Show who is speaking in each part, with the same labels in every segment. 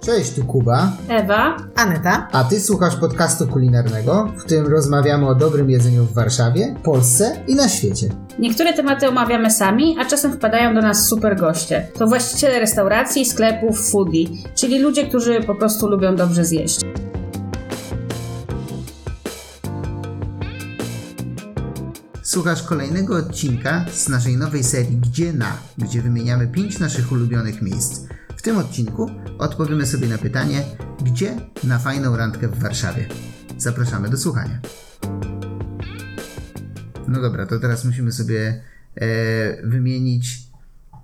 Speaker 1: Cześć, tu Kuba,
Speaker 2: Ewa,
Speaker 3: Aneta,
Speaker 1: a ty słuchasz podcastu kulinarnego, w którym rozmawiamy o dobrym jedzeniu w Warszawie, Polsce i na świecie.
Speaker 2: niektóre tematy omawiamy sami, a czasem wpadają do nas super goście. To właściciele restauracji, sklepów, foodie, czyli ludzie, którzy po prostu lubią dobrze zjeść.
Speaker 1: Słuchasz kolejnego odcinka z naszej nowej serii Gdzie na, gdzie wymieniamy 5 naszych ulubionych miejsc. W tym odcinku odpowiemy sobie na pytanie, gdzie na fajną randkę w Warszawie. Zapraszamy do słuchania. No dobra, to teraz musimy sobie e, wymienić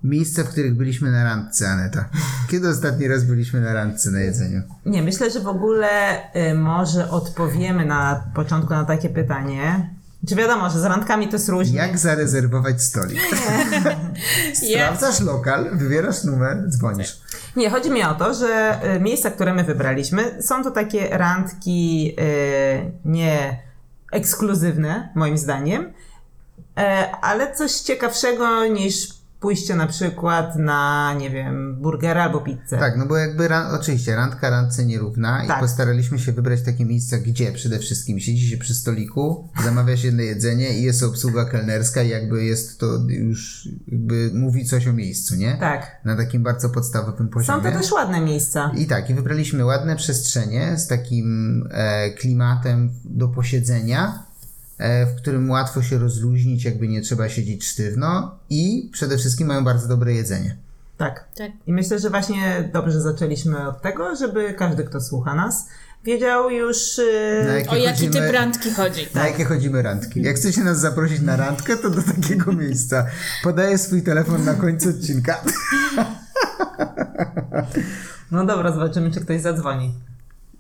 Speaker 1: miejsca, w których byliśmy na randce, Aneta. Kiedy ostatni raz byliśmy na randce na jedzeniu?
Speaker 3: Nie, myślę, że w ogóle y, może odpowiemy na początku na takie pytanie. Czy wiadomo, że z randkami to jest różnie.
Speaker 1: Jak zarezerwować stolik? Sprawdzasz lokal, wybierasz numer, dzwonisz.
Speaker 3: Nie, chodzi mi o to, że y, miejsca, które my wybraliśmy, są to takie randki y, nie ekskluzywne, moim zdaniem, e, ale coś ciekawszego niż pójście na przykład na, nie wiem, burgera albo pizzę.
Speaker 1: Tak, no bo jakby ran, oczywiście randka randce nierówna i
Speaker 3: Tak.
Speaker 1: postaraliśmy się wybrać takie miejsca, gdzie przede wszystkim siedzi się przy stoliku, zamawia się jedno jedzenie i jest obsługa kelnerska i jakby jest to już, jakby mówi coś o miejscu, nie?
Speaker 3: Tak.
Speaker 1: Na takim bardzo podstawowym
Speaker 3: Są
Speaker 1: poziomie.
Speaker 3: to też ładne miejsca.
Speaker 1: I tak, i wybraliśmy ładne przestrzenie z takim e, klimatem do posiedzenia, e, w którym łatwo się rozluźnić, jakby nie trzeba siedzieć sztywno i przede wszystkim mają bardzo dobre jedzenie.
Speaker 3: Tak.
Speaker 2: Tak.
Speaker 3: I myślę, że właśnie dobrze zaczęliśmy od tego, żeby każdy, kto słucha nas, wiedział już. y,
Speaker 1: Na jakie
Speaker 4: O jaki
Speaker 1: chodzimy-
Speaker 4: typ randki chodzi?
Speaker 1: Na jakie chodzimy randki? Jak chcecie nas zaprosić na randkę, to do takiego miejsca. Podaję swój telefon na końcu odcinka. Tak.
Speaker 3: No dobra, zobaczymy, czy ktoś zadzwoni.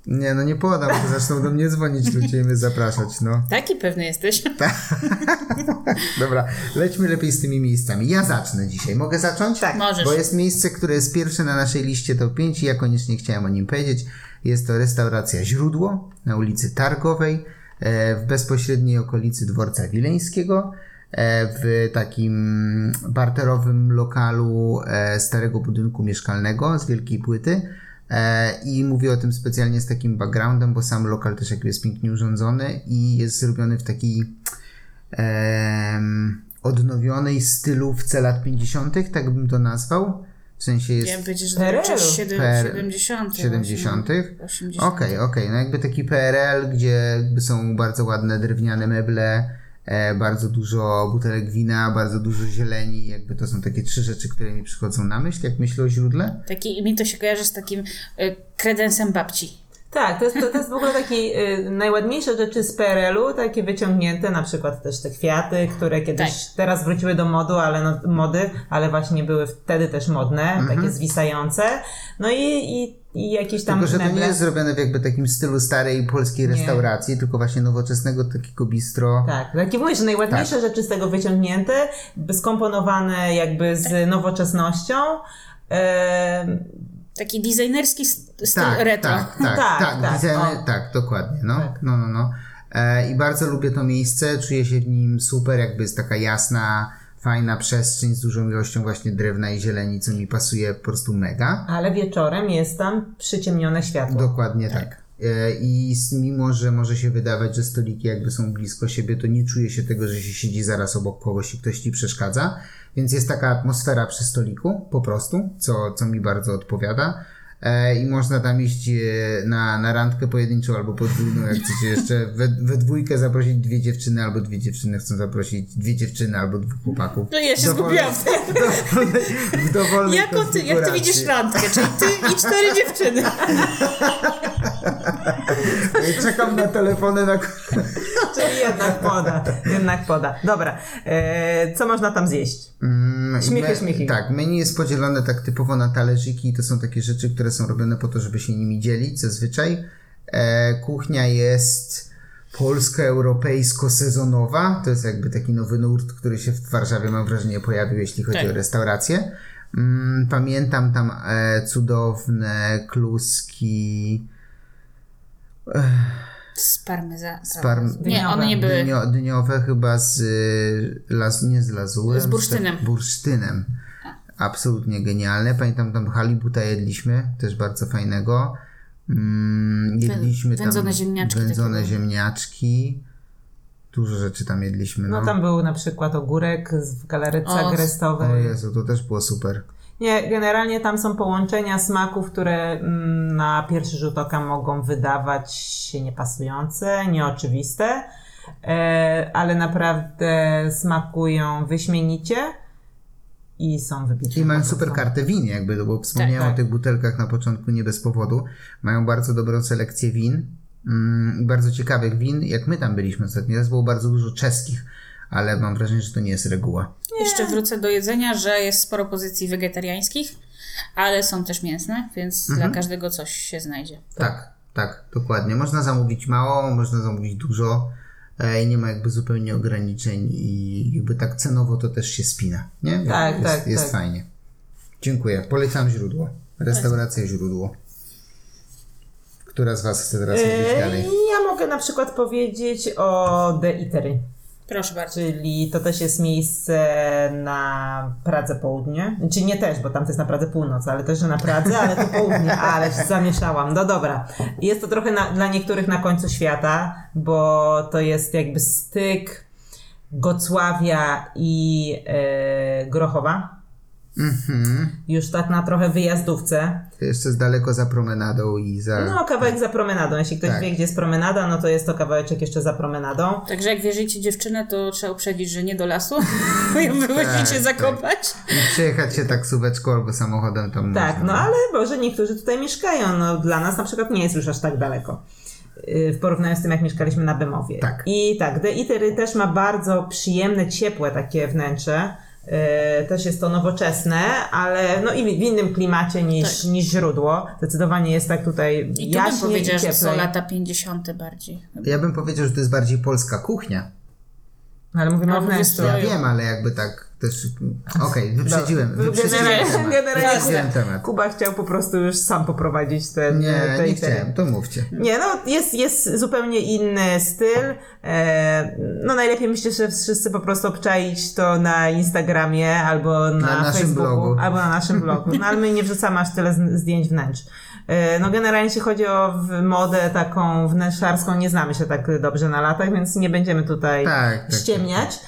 Speaker 1: Nie, no nie podam, bo zaczną do mnie dzwonić ludzie i mnie zapraszać, no.
Speaker 4: Taki pewny jesteś?
Speaker 1: Tak, Dobra, lećmy lepiej z tymi miejscami. Ja zacznę dzisiaj. Mogę zacząć? Tak,
Speaker 4: Możesz.
Speaker 1: Bo jest miejsce, które jest pierwsze na naszej liście top 5 i ja koniecznie chciałem o nim powiedzieć. Jest to restauracja Źródło na ulicy Targowej, e, w bezpośredniej okolicy Dworca Wileńskiego, e, w takim barterowym lokalu e, starego budynku mieszkalnego z wielkiej płyty. E, I mówię o tym specjalnie z takim backgroundem, bo sam lokal też jakby jest pięknie urządzony i jest zrobiony w takiej em, odnowionej stylówce lat 50., tak bym to nazwał. W sensie jest
Speaker 4: Chciałem powiedzieć, że
Speaker 3: PRL.
Speaker 4: dołączysz siedem-
Speaker 1: Per-
Speaker 4: 70.
Speaker 1: 70.
Speaker 4: właśnie, 80.
Speaker 1: Okej,
Speaker 3: tak.
Speaker 1: okej, no jakby taki PRL, gdzie jakby są bardzo ładne drewniane meble, e, bardzo dużo butelek wina, bardzo dużo zieleni, jakby to są takie trzy rzeczy, które mi przychodzą na myśl, jak myślę o źródle.
Speaker 4: Taki, mi to się kojarzy z takim y, kredensem babci.
Speaker 3: Tak, to jest, to, to jest w ogóle taki y, najładniejsze rzeczy z PRL-u, takie wyciągnięte, na przykład też te kwiaty, które kiedyś teraz wróciły do modu, ale no, mody, ale właśnie były wtedy też modne,
Speaker 1: Mhm.
Speaker 3: takie zwisające. No i, i, i jakieś tam
Speaker 1: Tylko, że to nie
Speaker 3: meble.
Speaker 1: jest zrobione w jakby takim stylu starej polskiej restauracji, tylko właśnie nowoczesnego takiego bistro.
Speaker 3: Tak, tak jak mówisz, najładniejsze rzeczy z tego wyciągnięte, by skomponowane jakby z nowoczesnością. Em,
Speaker 4: Taki designerski s- styl retro.
Speaker 1: Tak, tak,
Speaker 3: Tak,
Speaker 1: tak,
Speaker 3: tak,
Speaker 1: widzimy-
Speaker 3: o.
Speaker 1: tak, dokładnie. No,
Speaker 3: Tak.
Speaker 1: no, no. no. E, I bardzo lubię to miejsce, czuję się w nim super, jakby jest taka jasna, fajna przestrzeń z dużą ilością właśnie drewna i zieleni, co mi pasuje po prostu mega.
Speaker 3: ale wieczorem jest tam przyciemnione światło.
Speaker 1: Dokładnie tak. E, I s- mimo, że może się wydawać, że stoliki jakby są blisko siebie, to nie czuje się tego, że się siedzi zaraz obok kogoś i ktoś ci przeszkadza. Więc jest taka atmosfera przy stoliku, po prostu, co, co mi bardzo odpowiada. E, I można tam iść e, na, na randkę pojedynczą albo podwójną, jak chcecie jeszcze we, we dwójkę zaprosić dwie dziewczyny, albo dwie dziewczyny chcą zaprosić dwie dziewczyny albo dwóch chłopaków.
Speaker 4: No ja się
Speaker 1: Dowolnej-
Speaker 4: zgubiłam.
Speaker 1: w dowolnej, w dowolnej
Speaker 4: Jako ty, jak ty
Speaker 1: konfiguracji.
Speaker 4: widzisz randkę, czyli ty i cztery dziewczyny.
Speaker 1: E, Czekam na telefony na...
Speaker 3: Czyli jednak poda, jednak poda. Dobra, e, co można tam zjeść?
Speaker 1: Mm,
Speaker 3: Śmiechy,
Speaker 1: me-
Speaker 3: śmiechy.
Speaker 1: Tak, menu jest podzielone tak typowo na talerzyki i to są takie rzeczy, które są robione po to, żeby się nimi dzielić zazwyczaj. E, kuchnia jest polsko-europejsko-sezonowa. To jest jakby taki nowy nurt, który się w Warszawie, mam wrażenie, pojawił, jeśli chodzi
Speaker 4: Tak.
Speaker 1: o restaurację. Mm, pamiętam tam e, cudowne kluski
Speaker 4: Z parmeza.
Speaker 1: z parm...
Speaker 4: Nie, one nie były.
Speaker 1: Dnio, dniowe chyba z, y, las, nie z lazurem.
Speaker 4: Z bursztynem.
Speaker 1: tak, bursztynem. absolutnie genialne. Pamiętam tam halibuta jedliśmy, też bardzo fajnego. Mm, jedliśmy tam
Speaker 4: wędzone ziemniaczki
Speaker 1: wędzone
Speaker 4: takie
Speaker 1: ziemniaczki. Dużo rzeczy tam jedliśmy. No,
Speaker 3: No tam był na przykład ogórek z- w galaretce
Speaker 4: O.
Speaker 1: O
Speaker 3: grestowej.
Speaker 1: Jezu, to też było super.
Speaker 3: Nie, generalnie tam są połączenia smaków, które mm, na pierwszy rzut oka mogą wydawać się niepasujące, nieoczywiste, e, ale naprawdę smakują wyśmienicie i są wybitne.
Speaker 1: I mają
Speaker 3: Po prostu.
Speaker 1: super kartę win, jakby, no bo wspomniałem
Speaker 3: tak.
Speaker 1: o tych butelkach na początku nie bez powodu. Mają bardzo dobrą selekcję win mm, i bardzo ciekawych win. Jak my tam byliśmy ostatni raz, było bardzo dużo czeskich, ale mam wrażenie, że to nie jest reguła.
Speaker 4: Jeszcze wrócę do jedzenia, że jest sporo pozycji wegetariańskich, ale są też mięsne, więc
Speaker 1: Mhm.
Speaker 4: dla każdego coś się znajdzie.
Speaker 1: Tak, tak, dokładnie. Można zamówić mało, można zamówić dużo e, i nie ma jakby zupełnie ograniczeń i jakby tak cenowo to też się spina, nie?
Speaker 3: Tak,
Speaker 1: jest,
Speaker 3: tak,
Speaker 1: Jest
Speaker 3: tak.
Speaker 1: fajnie. Dziękuję. Polecam źródło. Restauracja źródło. Która z Was chce teraz mówić
Speaker 3: E,
Speaker 1: dalej?
Speaker 3: Ja mogę na przykład powiedzieć o The Eatery.
Speaker 4: Proszę bardzo.
Speaker 3: Czyli to też jest miejsce na Pradze Południe. Czy nie też, bo tam to jest na Pradze Północ, ale też, że na Pradze, ale to Południe, ale się zamieszałam. No dobra. Jest to trochę na, dla niektórych na końcu świata, bo to jest jakby styk Gocławia i e, Grochowa. Już tak na trochę wyjazdówce.
Speaker 1: To Mhm. jeszcze jest daleko za promenadą i za...
Speaker 3: No, kawałek za promenadą. Jeśli ktoś
Speaker 1: Tak.
Speaker 3: wie, gdzie jest promenada, no to jest to kawałeczek jeszcze za promenadą.
Speaker 4: Także jak wierzycie dziewczynę, to trzeba uprzedzić, że nie do lasu, bo
Speaker 1: Tak,
Speaker 4: ją
Speaker 1: tak.
Speaker 4: wywozicie zakopać.
Speaker 1: I przejechać się taksóweczką albo samochodem tam
Speaker 3: Tak,
Speaker 1: można.
Speaker 3: no ale Boże, niektórzy tutaj mieszkają. No, dla nas na przykład nie jest już aż tak daleko. Yy, W porównaniu z tym, jak mieszkaliśmy na Bemowie.
Speaker 1: Tak.
Speaker 3: I tak, The Eatery też ma bardzo przyjemne, ciepłe takie wnętrze. Yy, Też jest to nowoczesne, ale no i w innym klimacie niż, niż źródło. Zdecydowanie jest tak tutaj
Speaker 4: Tak. I tu bym
Speaker 3: jaśniej i
Speaker 4: powiedziała,
Speaker 3: cieplej.
Speaker 4: że są lata 50 bardziej.
Speaker 1: Ja bym powiedział, że to jest bardziej polska kuchnia.
Speaker 3: No, ale mówimy o
Speaker 4: Albo
Speaker 3: wnętrzu.
Speaker 1: Ja
Speaker 4: Oj.
Speaker 1: wiem, ale jakby tak też... Okej, wyprzedziłem. Wyprzedziłem
Speaker 3: No, Generalnie-
Speaker 1: temat.
Speaker 3: generalnie-
Speaker 1: Wyprzedziłem temat.
Speaker 3: Kuba chciał po prostu już sam poprowadzić ten e,
Speaker 1: Nie,
Speaker 3: te
Speaker 1: nie
Speaker 3: Eatery.
Speaker 1: chciałem, to mówcie.
Speaker 3: Nie, no jest, jest zupełnie inny styl. E, no najlepiej myślę, że wszyscy po prostu obczaić to na Instagramie albo na,
Speaker 1: Na naszym
Speaker 3: Facebooku,
Speaker 1: blogu.
Speaker 3: Albo na naszym blogu. No ale my nie wrzucamy aż tyle z- zdjęć wnętrz. E, no generalnie jeśli chodzi o w- modę taką wnętrzarską, nie znamy się tak dobrze na latach, więc nie będziemy tutaj
Speaker 1: Tak, tak,
Speaker 3: ściemniać.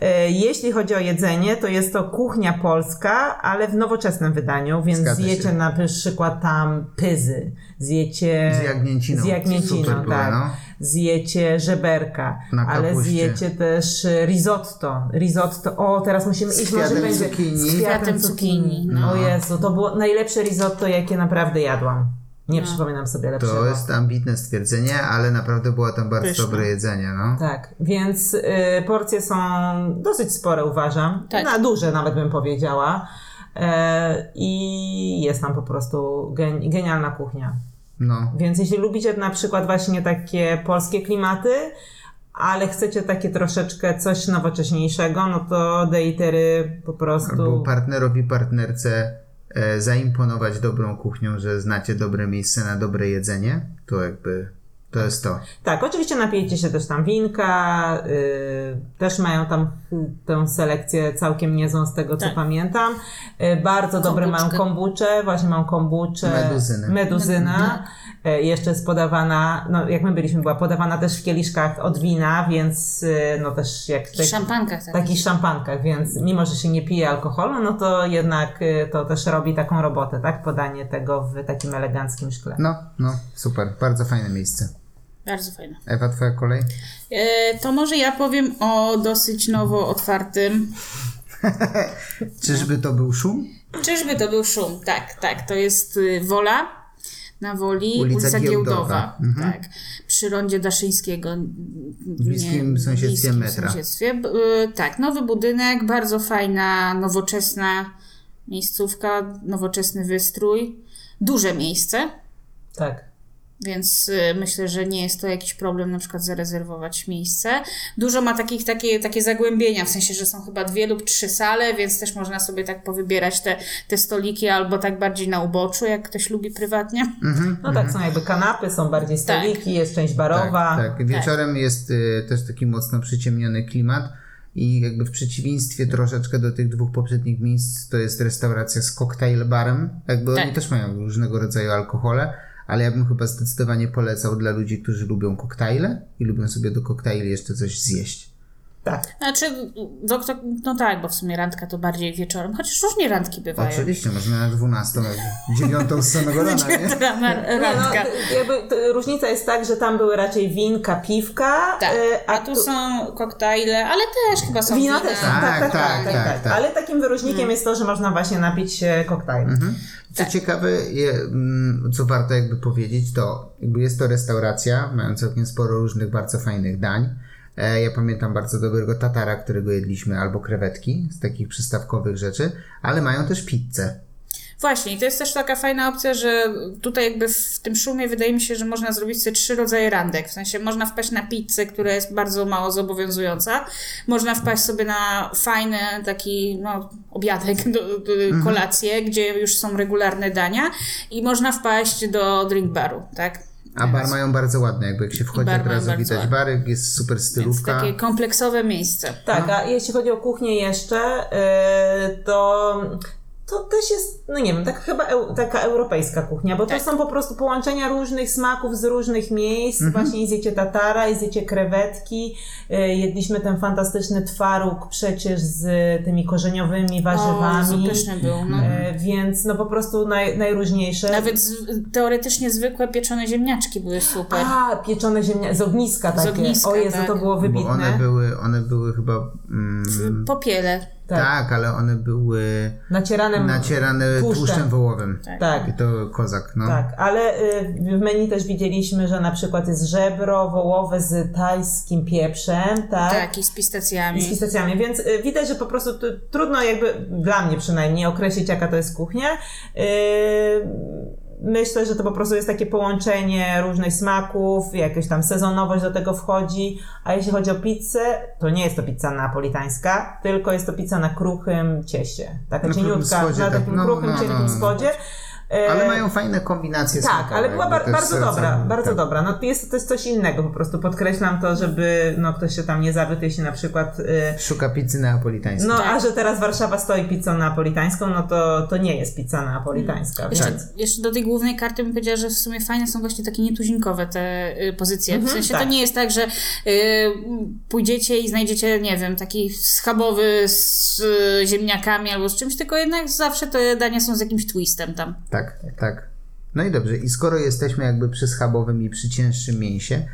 Speaker 3: E, Jeśli chodzi o jedzenie, to jest to kuchnia polska, ale w nowoczesnym wydaniu, więc
Speaker 1: Zgadza się.
Speaker 3: zjecie na przykład tam pyzy, zjecie
Speaker 1: Z jagnięciną.
Speaker 3: z jagnięciną,
Speaker 1: Super było,
Speaker 3: tak.
Speaker 1: no.
Speaker 3: Zjecie żeberka,
Speaker 1: Na
Speaker 3: ale
Speaker 1: kapuście.
Speaker 3: zjecie też e, risotto. Risotto, o teraz musimy
Speaker 1: Z
Speaker 3: iść, może
Speaker 1: kwiatem No.
Speaker 3: będzie
Speaker 1: cukinii.
Speaker 3: z
Speaker 1: Z
Speaker 4: kwiatem cukinii,
Speaker 3: O Jezu, to było najlepsze risotto, jakie naprawdę jadłam. Nie przypominam sobie lepszego.
Speaker 1: To jest ambitne stwierdzenie, ale naprawdę było tam bardzo
Speaker 4: Pyszne.
Speaker 1: dobre jedzenie, no.
Speaker 3: Tak, więc y, porcje są dosyć spore, uważam.
Speaker 4: Tak.
Speaker 3: Na duże nawet bym powiedziała. E, I jest tam po prostu gen, genialna kuchnia.
Speaker 1: No,
Speaker 3: Więc jeśli lubicie na przykład właśnie takie polskie klimaty, ale chcecie takie troszeczkę coś nowocześniejszego, no to Deitery po
Speaker 1: albo
Speaker 3: prostu.
Speaker 1: partnerowi, partnerce e, zaimponować dobrą kuchnią, że znacie dobre miejsce na dobre jedzenie, to jakby to jest to.
Speaker 3: Tak, oczywiście napijecie się też tam winka, y, też mają tam y, tę selekcję całkiem niezłą z tego, co
Speaker 4: Tak.
Speaker 3: pamiętam. Y, bardzo dobre mają
Speaker 4: Kombuczkę.
Speaker 3: kombucze, właśnie mają kombucze.
Speaker 1: Meduzyny.
Speaker 3: Meduzyna. Y, jeszcze jest podawana, no jak my byliśmy, była podawana też w kieliszkach od wina, więc y, no też jak
Speaker 4: W szampanka tak.
Speaker 3: takich szampankach, więc mimo, że się nie pije alkoholu, no to jednak y, to też robi taką robotę, tak? Podanie tego w takim eleganckim szkle.
Speaker 1: No, no, super, bardzo fajne miejsce.
Speaker 4: Bardzo fajne.
Speaker 1: Ewa, twoja kolej?
Speaker 4: E, to może ja powiem o dosyć nowo otwartym.
Speaker 1: Czyżby to był szum?
Speaker 4: Czyżby to był szum? Tak, tak. To jest y, Wola na Woli,
Speaker 1: Ulica
Speaker 4: ulica,
Speaker 1: Giełdowa. Mhm.
Speaker 4: Giełdowa. Tak. Przy rondzie Daszyńskiego. n-
Speaker 1: bliskim sąsiedztwie
Speaker 4: bliskim
Speaker 1: metra.
Speaker 4: sąsiedztwie. B- y, Tak, nowy budynek, bardzo fajna, nowoczesna miejscówka, nowoczesny wystrój. Duże miejsce,
Speaker 3: Tak.
Speaker 4: Więc y, myślę, że nie jest to jakiś problem na przykład zarezerwować miejsce. Dużo ma takich, takie, takie zagłębienia, w sensie, że są chyba dwie lub trzy sale, więc też można sobie tak powybierać te, te stoliki albo tak bardziej na uboczu, jak ktoś lubi prywatnie.
Speaker 1: Mhm.
Speaker 3: No tak, są jakby kanapy, są bardziej
Speaker 4: Tak.
Speaker 3: stoliki, jest część barowa.
Speaker 1: Tak, tak. Wieczorem jest y, też taki mocno przyciemniony klimat I jakby w przeciwieństwie troszeczkę do tych dwóch poprzednich miejsc, to jest restauracja z koktajl barem. Jakby
Speaker 4: Tak.
Speaker 1: oni też mają różnego rodzaju alkohole, ale ja bym chyba zdecydowanie polecał dla ludzi, którzy lubią koktajle i lubią sobie do koktajli jeszcze coś zjeść.
Speaker 3: Tak.
Speaker 4: Znaczy, do, kto- no tak, bo w sumie randka to bardziej wieczorem, chociaż różnie randki bywają.
Speaker 1: Oczywiście, można na 12, na 9 z samego rana, nie?
Speaker 4: Rana-
Speaker 3: Nie, no,
Speaker 4: Znaczy, Randka.
Speaker 3: t- jakby t- różnica jest tak, że tam były raczej winka, piwka,
Speaker 4: Tak.
Speaker 3: e,
Speaker 4: A tu są koktajle, ale też chyba są Mm.
Speaker 3: Wino też,
Speaker 1: Tak,
Speaker 3: tak, tak, tak,
Speaker 1: tak,
Speaker 3: tak,
Speaker 1: tak, tak.
Speaker 3: Ale takim wyróżnikiem jest to, że można właśnie napić się koktajl.
Speaker 1: Co ciekawe, je, mm, co warto jakby powiedzieć, to jakby jest to restauracja, mają całkiem sporo różnych bardzo fajnych dań. E, ja pamiętam bardzo dobrego tatara, którego jedliśmy, albo krewetki z takich przystawkowych rzeczy, ale mają też pizzę.
Speaker 4: Właśnie, i to jest też taka fajna opcja, że tutaj jakby w tym szumie wydaje mi się, że można zrobić sobie trzy rodzaje randek. W sensie można wpaść na pizzę, która jest bardzo mało zobowiązująca. Można wpaść sobie na fajny taki no, obiadek, do, do,
Speaker 1: Mhm.
Speaker 4: kolację, gdzie już są regularne dania i można wpaść do drink baru, tak?
Speaker 1: A bar mają bardzo ładny, jakby jak się wchodzi
Speaker 4: bar
Speaker 1: od
Speaker 4: mają
Speaker 1: razu
Speaker 4: bardzo
Speaker 1: widać
Speaker 4: ładny.
Speaker 1: bary, jest super
Speaker 4: Więc
Speaker 1: stylówka.
Speaker 4: takie kompleksowe miejsce.
Speaker 3: Tak, a jeśli chodzi o kuchnię jeszcze, y, to, to też jest, no nie wiem, tak chyba eu, taka europejska kuchnia, bo
Speaker 4: Tak.
Speaker 3: to są po prostu połączenia różnych smaków z różnych miejsc. Właśnie zjecie tatara, i zjecie krewetki, y, jedliśmy ten fantastyczny twaróg przecież z tymi korzeniowymi
Speaker 4: O,
Speaker 3: warzywami.
Speaker 4: pyszny był, no.
Speaker 1: Mhm.
Speaker 3: Y, Więc no po prostu naj, najróżniejsze.
Speaker 4: Nawet z, teoretycznie zwykłe pieczone ziemniaczki były super.
Speaker 3: A, pieczone ziemniaki, z ogniska takie.
Speaker 4: ogniska,
Speaker 3: o Jezu,
Speaker 4: tak.
Speaker 3: to było wybitne.
Speaker 1: Bo one były, one były chyba. Mm,
Speaker 4: Popiele.
Speaker 1: tak.
Speaker 3: tak.
Speaker 1: ale one były
Speaker 3: Nacieranem.
Speaker 1: nacierane
Speaker 3: Tłuszczem.
Speaker 1: tłuszczem wołowym.
Speaker 3: tak.
Speaker 1: I to kozak, no.
Speaker 3: Tak, ale y, w menu też widzieliśmy, że na przykład jest żebro wołowe z tajskim pieprzem, tak?
Speaker 4: Tak, i z pistacjami.
Speaker 3: I z pistacjami, więc y, widać, że po prostu tu, trudno jakby, dla mnie przynajmniej, określić jaka to jest kuchnia. Y, Myślę, że to po prostu jest takie połączenie różnych smaków, jakaś tam sezonowość do tego wchodzi. A jeśli chodzi o pizzę, to nie jest to pizza napolitańska, tylko jest to pizza na kruchym cieście. Taka
Speaker 1: Na kruchym
Speaker 3: cieniutka,
Speaker 1: spodzie,
Speaker 3: na
Speaker 1: tak.
Speaker 3: takim
Speaker 1: No,
Speaker 3: kruchym,
Speaker 1: no, no,
Speaker 3: cienkim
Speaker 1: no.
Speaker 3: spodzie. Y,
Speaker 1: Ale mają fajne kombinacje
Speaker 3: tak,
Speaker 1: smakowe,
Speaker 3: ale była
Speaker 1: jakby
Speaker 3: bar-
Speaker 1: to jest
Speaker 3: bardzo dobra,
Speaker 1: całkiem-
Speaker 3: bardzo
Speaker 1: tak.
Speaker 3: dobra. No to jest, to jest coś innego, po prostu podkreślam to, żeby no, ktoś się tam nie zawytył, jeśli na przykład... y,
Speaker 1: Szuka pizzy neapolitańskiej.
Speaker 3: no,
Speaker 4: Tak.
Speaker 3: a że teraz Warszawa stoi pizzą neapolitańską, no to, to nie jest pizza neapolitańska.
Speaker 1: Mm.
Speaker 4: Jeszcze,
Speaker 1: Tak.
Speaker 3: Więc,
Speaker 4: jeszcze do tej głównej karty bym powiedziała, że w sumie fajne są właśnie takie nietuzinkowe te y, pozycje. w
Speaker 3: Mhm,
Speaker 4: sensie to
Speaker 3: tak.
Speaker 4: nie jest tak, że y, pójdziecie i znajdziecie, nie wiem, taki schabowy z y, ziemniakami albo z czymś, tylko jednak zawsze te dania są z jakimś twistem tam.
Speaker 1: Tak, tak. No i dobrze, i skoro jesteśmy jakby przy schabowym i przy cięższym mięsie,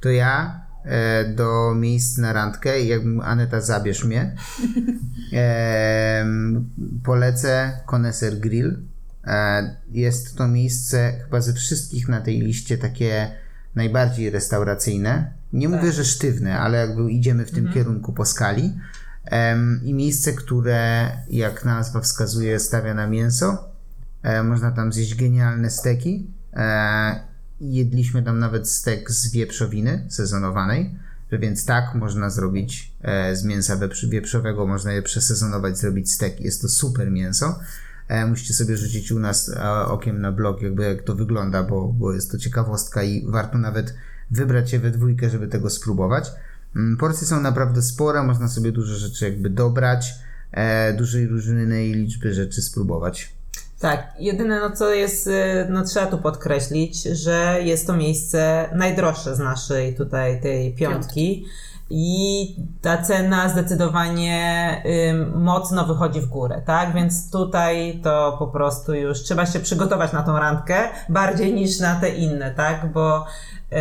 Speaker 1: to ja e, do miejsc na randkę, jakbym Aneta zabierz mnie, em, polecę Koneser Grill. E, jest to miejsce chyba ze wszystkich na tej liście takie najbardziej restauracyjne. Nie mówię, że sztywne, ale jakby idziemy w tym kierunku po skali. Em, I miejsce, które jak nazwa wskazuje stawia na mięso, E, można tam zjeść genialne steki. E, i jedliśmy tam nawet stek z wieprzowiny sezonowanej, że więc tak można zrobić e, z mięsa wieprz- wieprzowego, można je przesezonować, zrobić stek. Jest to super mięso. E, musicie sobie rzucić u nas e, okiem na blog, jakby jak to wygląda, bo, bo jest to ciekawostka i warto nawet wybrać się we dwójkę, żeby tego spróbować. Mm, Porcje są naprawdę spore, można sobie dużo rzeczy jakby dobrać, e, dużej różnej liczby rzeczy spróbować.
Speaker 3: tak, jedyne no co jest, y, no trzeba tu podkreślić, że jest to miejsce najdroższe z naszej tutaj tej piątki. I ta cena zdecydowanie ym, mocno wychodzi w górę, tak? Więc tutaj to po prostu już trzeba się przygotować na tą randkę bardziej niż na te inne, tak? Bo y,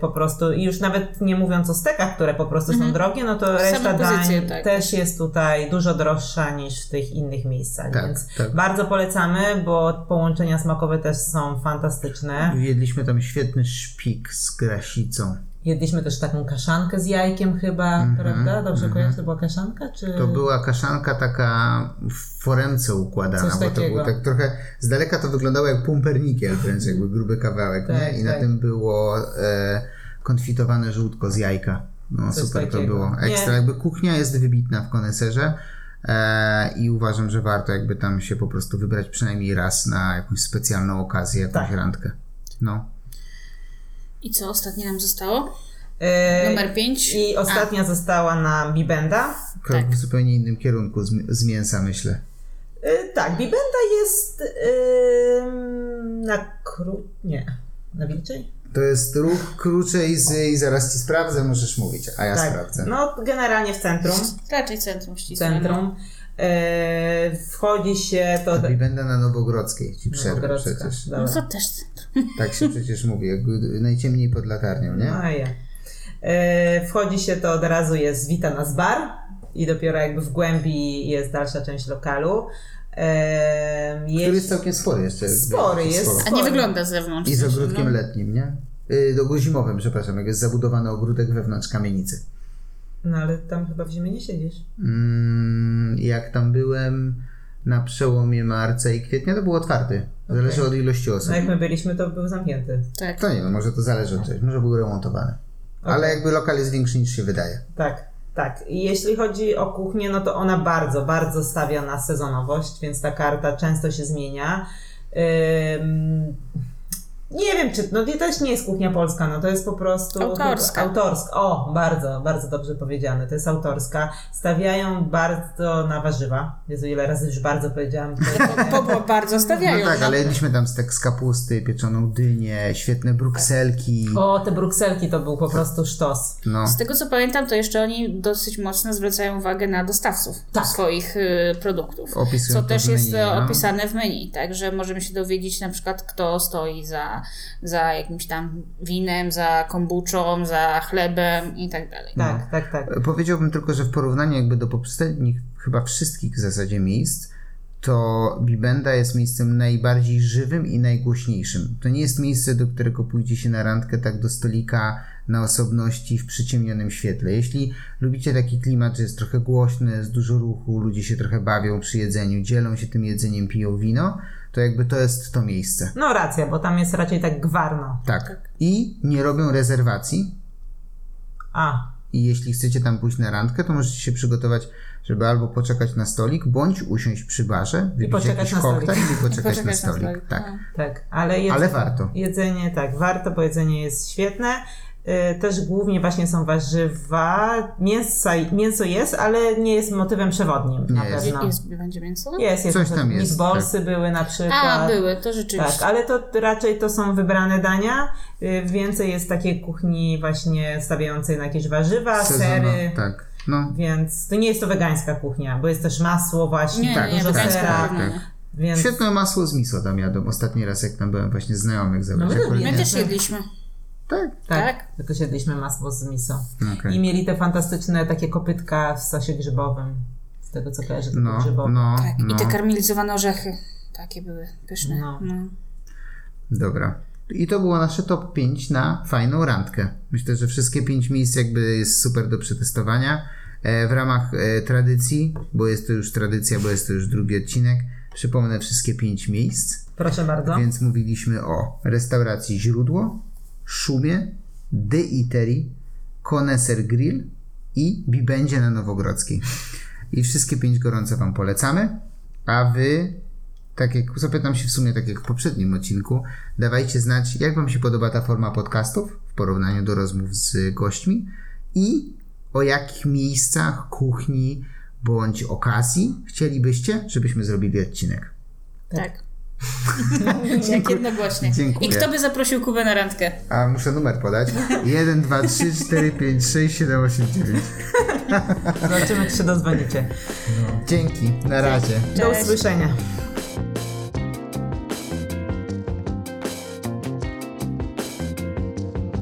Speaker 3: po prostu, i już nawet nie mówiąc o stekach, które po prostu są drogie, no to reszta
Speaker 4: Mhm. pozycje,
Speaker 3: dań
Speaker 4: tak.
Speaker 3: też jest tutaj dużo droższa niż w tych innych miejscach,
Speaker 1: Tak,
Speaker 3: więc
Speaker 1: tak.
Speaker 3: bardzo polecamy, bo połączenia smakowe też są fantastyczne.
Speaker 1: Jedliśmy tam świetny szpik z grasicą.
Speaker 3: Jedliśmy też taką kaszankę z jajkiem chyba, prawda? Dobrze kojarzę, to była kaszanka? Czy...
Speaker 1: Mhm, To była kaszanka taka w foremce układana,
Speaker 3: Coś
Speaker 1: bo to było
Speaker 3: takiego.
Speaker 1: tak trochę, z daleka to wyglądało jak pumpernikiel wręcz, jakby gruby kawałek,
Speaker 3: Tak,
Speaker 1: nie? I na
Speaker 3: tak.
Speaker 1: tym było e, konfitowane żółtko z jajka. No
Speaker 3: Coś
Speaker 1: super to
Speaker 3: takiego.
Speaker 1: było. Ekstra,
Speaker 3: Nie.
Speaker 1: jakby kuchnia jest wybitna w koneserze e, i uważam, że warto jakby tam się po prostu wybrać przynajmniej raz na jakąś specjalną okazję, jakąś
Speaker 3: Tak.
Speaker 1: randkę. No.
Speaker 4: I co ostatnie nam zostało?
Speaker 3: E,
Speaker 4: Numer 5.
Speaker 3: I ostatnia została na Bibenda.
Speaker 1: Krok
Speaker 4: Tak.
Speaker 1: w zupełnie innym kierunku z, z mięsa, myślę.
Speaker 3: E, tak, Bibenda jest em, na kru... nie, na wilczej?
Speaker 1: To jest ruch kruczej z i zaraz ci sprawdzę, możesz mówić, a ja sprawdzę.
Speaker 3: No, generalnie w centrum.
Speaker 4: Raczej centrum ścisłe.
Speaker 3: centrum.
Speaker 4: Mhm.
Speaker 3: E, wchodzi się to...
Speaker 1: I będę na Nowogrodzkiej ci przerwę
Speaker 3: Nowogrodzka,
Speaker 1: przecież.
Speaker 4: No
Speaker 3: dobra.
Speaker 4: to też centrum.
Speaker 1: Tak się przecież mówi, jak najciemniej pod latarnią, nie?
Speaker 3: No, A ja. E, wchodzi się to od razu jest wita nas bar i dopiero jakby w głębi jest dalsza część lokalu. E,
Speaker 1: Który jest
Speaker 3: jest,
Speaker 1: całkiem spory jeszcze.
Speaker 3: Spory jest.
Speaker 1: Sporo.
Speaker 4: A nie wygląda z zewnątrz.
Speaker 1: I z
Speaker 4: też,
Speaker 1: ogródkiem
Speaker 4: no.
Speaker 1: letnim, nie? Y, Do zimowym, przepraszam, jak jest zabudowany ogródek wewnątrz kamienicy.
Speaker 3: no ale tam chyba w zimie nie siedzisz. No,
Speaker 1: Mm, jak tam byłem na przełomie marca i kwietnia, to był otwarty. Zależy od ilości osób.
Speaker 3: No jak my byliśmy, to był zamknięty.
Speaker 4: Tak.
Speaker 1: To nie wiem, może to zależy od czegoś, może był remontowany.
Speaker 3: Okej.
Speaker 1: Ale jakby lokal jest większy niż się wydaje.
Speaker 3: Tak, tak. I jeśli chodzi o kuchnię, no to ona bardzo, bardzo stawia na sezonowość, więc ta karta często się zmienia. Ym, nie wiem, czy. No to też nie jest kuchnia polska, no to jest po prostu.
Speaker 4: Autorska.
Speaker 3: Autorska. O, bardzo, bardzo dobrze powiedziane. To jest autorska. Stawiają bardzo na warzywa. Jezu, ile razy już bardzo powiedziałam.
Speaker 4: Bo, bo bardzo stawiają.
Speaker 1: No tak, ale jedliśmy tam stek z kapusty, pieczoną dynię, świetne brukselki.
Speaker 3: O, te brukselki to był po prostu sztos.
Speaker 1: No.
Speaker 4: Z tego co pamiętam, to jeszcze oni dosyć mocno zwracają uwagę na dostawców
Speaker 3: Tak.
Speaker 4: swoich y, produktów.
Speaker 1: Opisują
Speaker 4: co
Speaker 1: to
Speaker 4: też
Speaker 1: w
Speaker 4: jest
Speaker 1: menu,
Speaker 4: e,
Speaker 1: no.
Speaker 4: opisane w menu, także możemy się dowiedzieć na przykład, kto stoi za, za jakimś tam winem, za kombuczą, za chlebem i tak dalej.
Speaker 1: No.
Speaker 3: Tak, tak, tak.
Speaker 1: Powiedziałbym tylko, że w porównaniu jakby do poprzednich, chyba wszystkich w zasadzie miejsc, to Bibenda jest miejscem najbardziej żywym i najgłośniejszym. To nie jest miejsce, do którego pójdzie się na randkę tak do stolika na osobności w przyciemnionym świetle. Jeśli lubicie taki klimat, że jest trochę głośny, jest dużo ruchu, ludzie się trochę bawią przy jedzeniu, dzielą się tym jedzeniem, piją wino, to jakby to jest to miejsce.
Speaker 3: No racja, bo tam jest raczej tak gwarno.
Speaker 1: Tak. I nie robią rezerwacji,
Speaker 3: A,
Speaker 1: I jeśli chcecie tam pójść na randkę, to możecie się przygotować, żeby albo poczekać na stolik, bądź usiąść przy barze, wypić
Speaker 3: poczekać
Speaker 1: jakiś
Speaker 3: na stolik.
Speaker 1: koktajl i poczekać,
Speaker 4: Poczekać no.
Speaker 1: na stolik. Tak.
Speaker 3: tak, ale jest.
Speaker 1: Ale warto.
Speaker 3: Jedzenie, tak, warto, bo jedzenie jest świetne. Y, Też głównie właśnie są warzywa. Mięsa, mięso jest, ale nie jest motywem przewodnim na
Speaker 1: Nie jest.
Speaker 3: pewno.
Speaker 4: No. Jest, będzie mięso?
Speaker 3: Jest, jest.
Speaker 1: Coś
Speaker 3: na
Speaker 1: tam
Speaker 3: przykład
Speaker 1: jest, tak.
Speaker 3: Meatballsy były na przykład.
Speaker 4: A, były, to rzeczywiście.
Speaker 3: Tak, ale to raczej to są wybrane dania. Y, Więcej jest takiej kuchni właśnie stawiającej na jakieś warzywa,
Speaker 1: Sezono-
Speaker 3: sery.
Speaker 1: Tak. No.
Speaker 3: Więc to nie jest to wegańska kukuchnia, bo jest też masło właśnie,
Speaker 4: Nie,
Speaker 1: tak,
Speaker 4: nie,
Speaker 3: dużo
Speaker 1: tak,
Speaker 4: wegańska
Speaker 3: sera.
Speaker 1: tak,
Speaker 4: kuchnia, nie.
Speaker 1: tak.
Speaker 3: Więc
Speaker 1: Świetne masło z miso tam jadą. Ostatni raz, jak tam byłem, właśnie znajomych zabrać.
Speaker 3: No, my
Speaker 1: Akurat
Speaker 4: My
Speaker 3: lubimy.
Speaker 1: nie-
Speaker 4: też jedliśmy.
Speaker 1: Tak. No,
Speaker 3: tak,
Speaker 4: tak.
Speaker 3: tylko siedliśmy masło z miso.
Speaker 1: okej.
Speaker 3: I mieli te fantastyczne takie kopytka w sosie grzybowym. Z tego co kojarzę, to był
Speaker 1: No,
Speaker 3: grzybowy.
Speaker 1: no,
Speaker 4: Tak. I
Speaker 1: no.
Speaker 4: te karmelizowane orzechy. Takie były pyszne.
Speaker 3: No.
Speaker 4: No.
Speaker 1: Dobra. I to było nasze top 5 na fajną randkę. Myślę, że wszystkie 5 miejsc jakby jest super do przetestowania. E, w ramach e, tradycji, bo jest to już tradycja, bo jest to już drugi odcinek, przypomnę wszystkie 5 miejsc.
Speaker 3: Proszę bardzo.
Speaker 1: Więc mówiliśmy o restauracji Źródło, Szumie, The Eatery, Koneser Grill i Bibendzie na Nowogrodzkiej. I wszystkie pięć gorąco Wam polecamy, a Wy, tak jak zapytam się w sumie tak jak w poprzednim odcinku, dawajcie znać, jak Wam się podoba ta forma podcastów w porównaniu do rozmów z gośćmi i o jakich miejscach, kuchni bądź okazji chcielibyście, żebyśmy zrobili odcinek.
Speaker 4: Tak. Jak jednogłośnie.
Speaker 1: Dziękuję.
Speaker 4: I kto by zaprosił Kubę na randkę?
Speaker 1: A muszę numer podać. 1, 2, 3, 4, 5, 6, 7, 8, 9.
Speaker 3: Zobaczymy, czy się dozwonicie.
Speaker 1: Dzięki, na razie.
Speaker 3: Do
Speaker 4: Cześć.
Speaker 3: usłyszenia.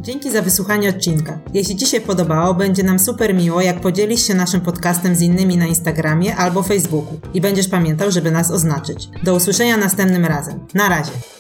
Speaker 3: Dzięki za wysłuchanie odcinka. Jeśli Ci się podobało, będzie nam super miło, jak podzielisz się naszym podcastem z innymi na Instagramie albo Facebooku i będziesz pamiętał, żeby nas oznaczyć. Do usłyszenia następnym razem. Na razie.